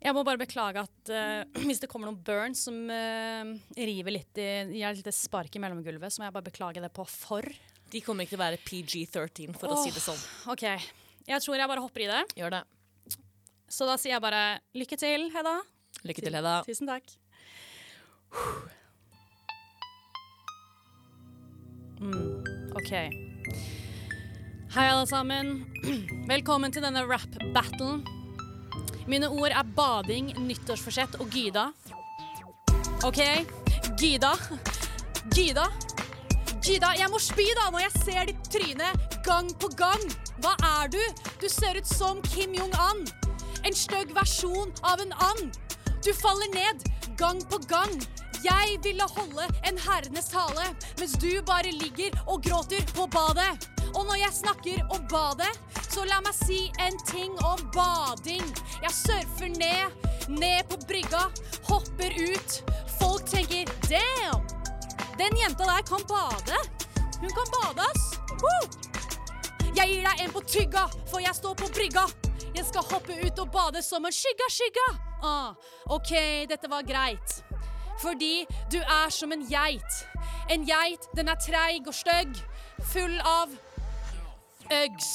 Jeg må bare beklage at eh, hvis det kommer noen burns som eh, river litt i Gir et lite spark i mellomgulvet, så må jeg bare beklage det på for.
De kommer ikke til å være PG-13, for å si det sånn.
OK. Jeg tror jeg bare hopper i det.
Gjør det.
Så da sier jeg bare lykke til, Hedda.
Lykke til, Hedda.
Tusen takk. Mm, OK. Hei, alle sammen. Velkommen til denne rap-battlen. Mine ord er bading, nyttårsforsett og Gyda. OK? Gyda. Gyda. Gyda, jeg må spy da når jeg ser ditt tryne gang på gang. Hva er du? Du ser ut som Kim Jong-un. En stygg versjon av en and. Du faller ned gang på gang. Jeg ville holde en herrenes tale, mens du bare ligger og gråter på badet. Og når jeg snakker om badet, så la meg si en ting om bading. Jeg surfer ned, ned på brygga, hopper ut. Folk tenker 'damn'. Den jenta der kan bade. Hun kan bade, ass. Woo! Jeg gir deg en på tygga, for jeg står på brygga. Jeg skal hoppe ut og bade som en skygga, skygga. Ah, OK, dette var greit. Fordi du er som en geit. En geit, den er treig og stygg. Full av Uggs.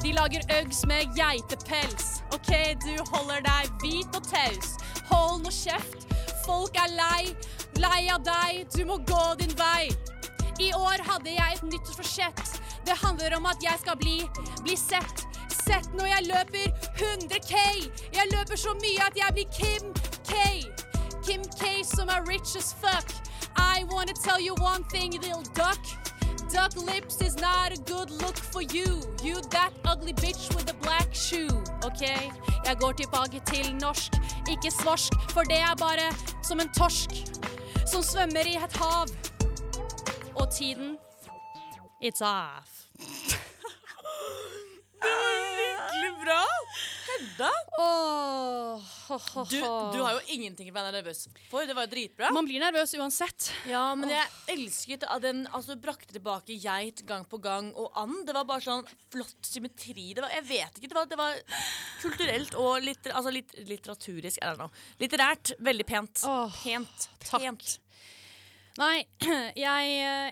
De lager Uggs med geitepels. OK, du holder deg hvit og taus. Hold nå kjeft. Folk er lei, lei av deg. Du må gå din vei. I år hadde jeg et nyttårsforsett. Det handler om at jeg skal bli, bli sett. Sett når jeg løper 100K. Jeg løper så mye at jeg blir Kim K. Kim K som er rich as fuck. I wanna tell you one thing, little duck. Duck lips is not a good look for you. You that ugly bitch with a black shoe. OK? Jeg går tilbake til norsk, ikke svorsk, for det er bare som en torsk som svømmer i et hav. Og tiden It's off.
Skikkelig bra! Hedda,
Åh, ho, ho,
du,
ho.
du har jo ingenting å være nervøs for. Det var jo dritbra.
Man blir nervøs uansett.
Ja, men jeg elsket at den altså, brakte tilbake geit gang på gang og and. Det var bare sånn flott symmetri. Det var, jeg vet ikke, det var, det var kulturelt og litter, altså, litt, litteraturisk. I don't know. Litterært. Veldig pent.
Åh,
pent.
takk.
Pent.
Nei, jeg eh,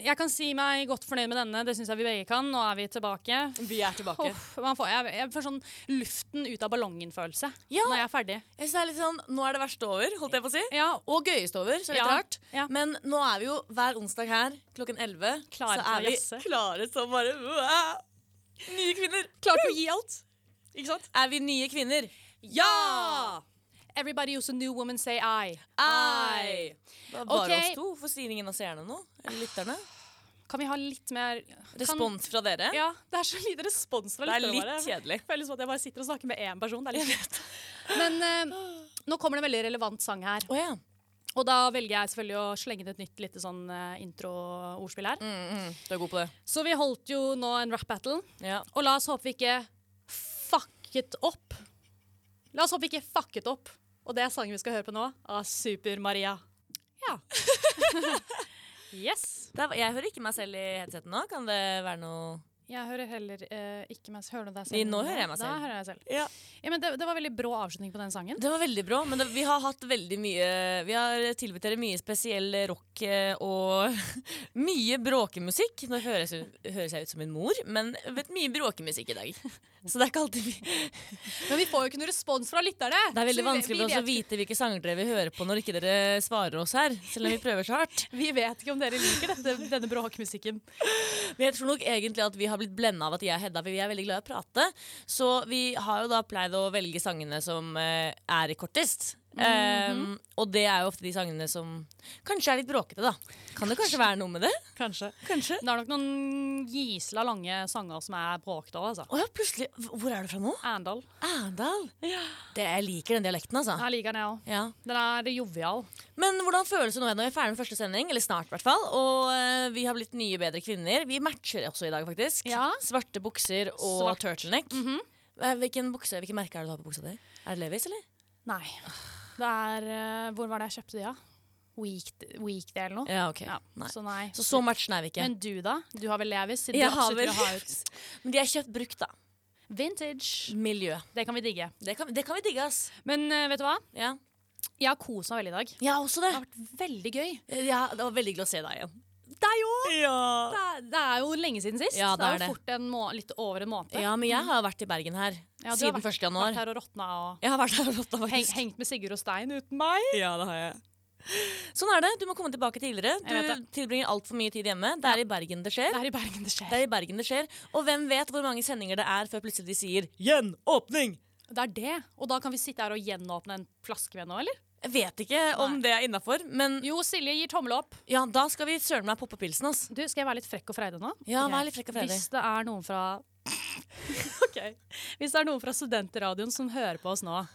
Jeg kan si meg godt fornøyd med denne. Det syns jeg vi begge kan. Nå er vi tilbake.
Vi er tilbake.
Uff, man får, jeg, jeg får sånn luften ut av ballongen-følelse
Ja.
når jeg er ferdig.
Jeg synes det er litt sånn, Nå er det verste over, holdt jeg på å si.
Ja,
Og gøyest over, så litt
Ja,
rart.
ja.
Men nå er vi jo hver onsdag her klokken 11. så
Klare til å
er vi
jazze.
klare som bare wow. Nye kvinner. Klart å gi alt. Ikke sant? Er vi nye kvinner? Ja!
Everybody who's a new woman say I.
Ei! Det var bare
Ok.
oss to. Hvorfor sier ingen av seerne noe? Eller lytterne?
Kan vi ha litt mer Kan,
Respons fra dere?
ja.
Det er så lite respons fra
Det er
lytterne
litt
våre.
kjedelig.
Det
liksom
føles som at jeg bare sitter og snakker med én person. Det er litt lett.
Men eh, nå kommer det en veldig relevant sang her.
Å ja.
Og da velger jeg selvfølgelig å slenge inn et nytt lite sånn eh, intro-ordspill her.
Mm, Du er god på det.
Så vi holdt jo nå en rap battle.
Ja.
Og la oss håpe vi ikke fucket opp. La oss håpe vi ikke fucket opp. Og det er sangen vi skal høre på nå, av Super-Maria. Ja. yes.
Det er, jeg hører ikke meg selv i headsetet nå. Kan det være noe
Jeg hører heller eh, ikke meg selv. Hører du deg
Nei,
selv?
nå hører jeg meg selv.
Da hører jeg meg selv.
Ja.
Ja, men det, det var veldig brå avslutning på den sangen.
Det var veldig bra, men det, vi har hatt veldig mye Vi har tilbudt dere mye spesiell rock eh, og mye bråkemusikk. Nå høres, jeg- høres jeg ut som min mor, men vet mye bråkemusikk i dag. Så det er ikke alltid vi
Men vi får jo ikke noe respons fra lytterne.
Det er veldig
Så vi-
vanskelig for
vi
oss å
vet-
vite hvilke sanger dere vil høre på når ikke dere svarer oss her, selv om vi prøver så hardt.
Vi vet ikke om dere liker dette, denne bråkmusikken.
Men jeg tror nok egentlig at vi har blitt blenda av at jeg og Hedda for vi er veldig glad i å prate. Så vi har jo da pleid å velge sangene som eh, er kortest. Eh, og det er jo ofte de sangene som kanskje er litt bråkete, da. Kan det kanskje være noe med det?
Kanskje.
Kanskje.
Det er nok noen gisla lange sanger som er bråkete òg, altså.
Å ja, plutselig. H- Hvor er du fra nå?
Arendal.
Arendal. Det, jeg liker den dialekten, altså.
Jeg liker den, jeg òg.
Ja.
Den er jovial.
Men hvordan føles det nå? Hedda? Vi er ferdig med første sending, eller snart i hvert fall. Og eh, vi har blitt nye, bedre kvinner. Vi matcher også i dag, faktisk.
Ja.
Svarte bukser og
Svart. Mhm.
turtleneck. Eh, Hvilken bukse, Hvilke merker er det du har på buksa di? Er det Levis, eller?
Nei. Det er eh, Hvor var det jeg kjøpte de, da? Week, weekday eller noe?
Ja, ok.
Ja,
Nei.
Så nei.
Så så matchen er vi ikke.
Men du, da? Du har vel Levis? Siden
Jeg
du
har
absolutt vil
vel-
ha ut
Men de er kjøpt brukt, da.
vintage.
Miljø.
Det kan vi digge.
Det kan, det kan vi digge, ass.
Men eh, vet du hva?
Ja.
Jeg har kost meg veldig i dag.
Jeg har også det. Eh,
Det har vært veldig gøy.
Ja, det var veldig hyggelig å se deg igjen. Deg òg!
Det
Ja.
er, det er jo lenge siden sist.
Ja, det er
jo
det.
fort en må litt over en måned.
ja, men jeg har vært i Bergen her
Ja, du har
siden
vært-
1. januar.
Vært her og råtna og
Jeg har vært her og rått, da,
heng,
faktisk.
hengt med Sigurd og Stein uten meg.
Ja, det har jeg. Sånn er det. Du må komme tilbake tidligere.
Jeg vet
Du tilbringer altfor mye tid hjemme. Det er i Bergen det skjer.
Det er i Bergen det
Det
skjer.
er i Bergen det skjer. Og hvem vet hvor mange sendinger det er før plutselig de sier 'gjenåpning'?
Det er det. Og da kan vi sitte her og gjenåpne en flaske med nå, eller?
Jeg vet ikke om det er innafor, men
Jo, Silje gir tommel opp.
ja, da skal vi søren meg poppe pilsen, ass.
Du, skal jeg være litt frekk og freidig nå?
Ja,
Ok.
vær litt frekk og freidig.
Hvis det er noen fra Ok. Hvis det er noen fra studentradioen som hører på oss nå,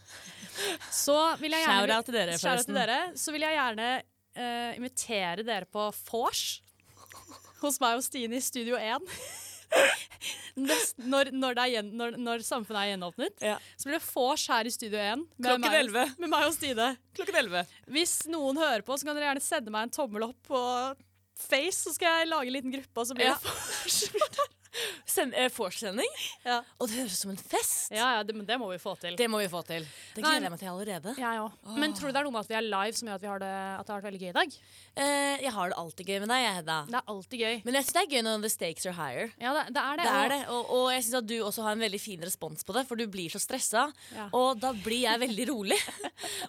så vil jeg gjerne
Shout-out til dere,
Shout-out til
forresten.
dere. Så vil jeg gjerne eh, invitere dere på vors hos meg og Stine i Studio 1. Nest, når, når, det er gjen, når, når samfunnet er gjenåpnet,
Ja.
så blir det vors her i Studio 1.
Klokken
meg,
11.
med meg og Stine.
Klokken 11.
Hvis noen hører på, så kan dere gjerne sende meg en tommel opp på Face, så skal jeg lage en liten gruppe. Og så blir
Ja.
det vors.
Send, eh, Vorsending?
Ja.
Og det høres ut som en fest!
Ja, ja, det, men det må vi få til.
Det må vi få til. Det
Nei,
gleder jeg meg til allerede.
Jeg også. Men tror du det er noe med at vi er live som gjør at, vi har det, at det har vært veldig gøy i dag?
Eh, jeg har det alltid gøy med deg, jeg, Hedda.
Det er alltid gøy.
Men jeg syns det er gøy når the stakes are higher.
Ja, det, det er det.
Det er
og-
det, og, og jeg syns at du også har en veldig fin respons på det, for du blir så stressa.
Ja.
Og da blir jeg veldig rolig.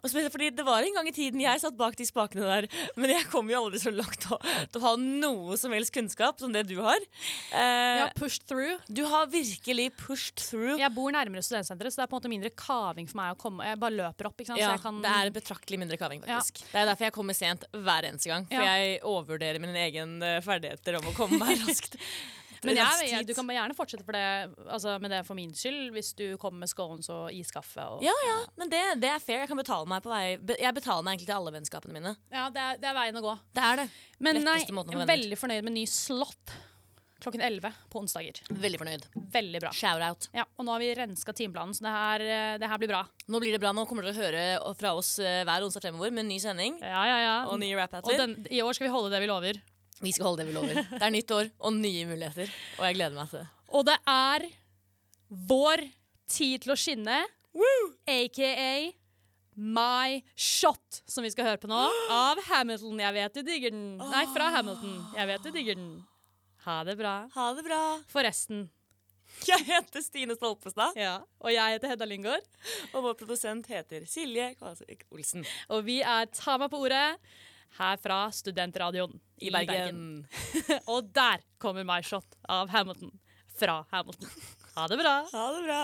og spesielt fordi det var en gang i tiden jeg satt bak de spakene der, men jeg kom jo aldri så langt å, til å ha noe som helst kunnskap som det du har. Eh,
Ja, pushed through.
Du har virkelig pushed through.
Jeg bor nærmere studentsenteret, så det er på en måte mindre kaving for meg å komme. Jeg bare løper opp, ikke sant?
Ja,
så altså, jeg kan
Det er betraktelig mindre kaving, faktisk. Det er derfor jeg kommer sent hver eneste gang. For
Ja.
jeg overvurderer mine egne ferdigheter om å komme meg raskt.
Men jeg,
raskt
jeg, du
hit.
kan bare gjerne fortsette for det, altså, med det for min skyld, hvis du kommer med scones og iskaffe. Og,
Ja, ja, men det, det er fair. Jeg kan betale meg på vei be- Jeg betaler meg egentlig til alle vennskapene mine.
Ja, det, er, det er veien å gå.
Det er det.
Men nei,
Letteste
jeg
måten å få
er
venner.
veldig fornøyd med ny slott klokken 11 på onsdager.
Veldig fornøyd.
Veldig bra.
Shout-out.
Ja, og nå har vi renska timeplanen, så det her, eh, det her blir bra.
Nå blir det bra. Nå kommer dere å høre fra oss eh, hver onsdag fremover med en ny sending.
Ja, ja, ja.
Og nye
Og
rap-hatter.
den, i år skal vi holde det vi lover.
Vi skal holde det vi lover. Det er nytt år og nye muligheter. Og jeg gleder meg til det.
Og det er vår tid til å skinne, aka My Shot, som vi skal høre på nå, av Hamilton. Jeg vet du digger den. Nei, fra Hamilton. Jeg vet du digger den. Ha det bra.
Ha det bra.
Forresten.
Jeg heter Stine Stolpestad,
Ja. Og jeg heter Hedda Lyngård,
og vår produsent heter Silje Kvasvik Olsen
og vi er Ta meg på ordet her fra Studentradioen
i Bergen.
Og der kommer My Shot av Hamilton. Fra Hamilton. Ha det bra.
Ha det bra.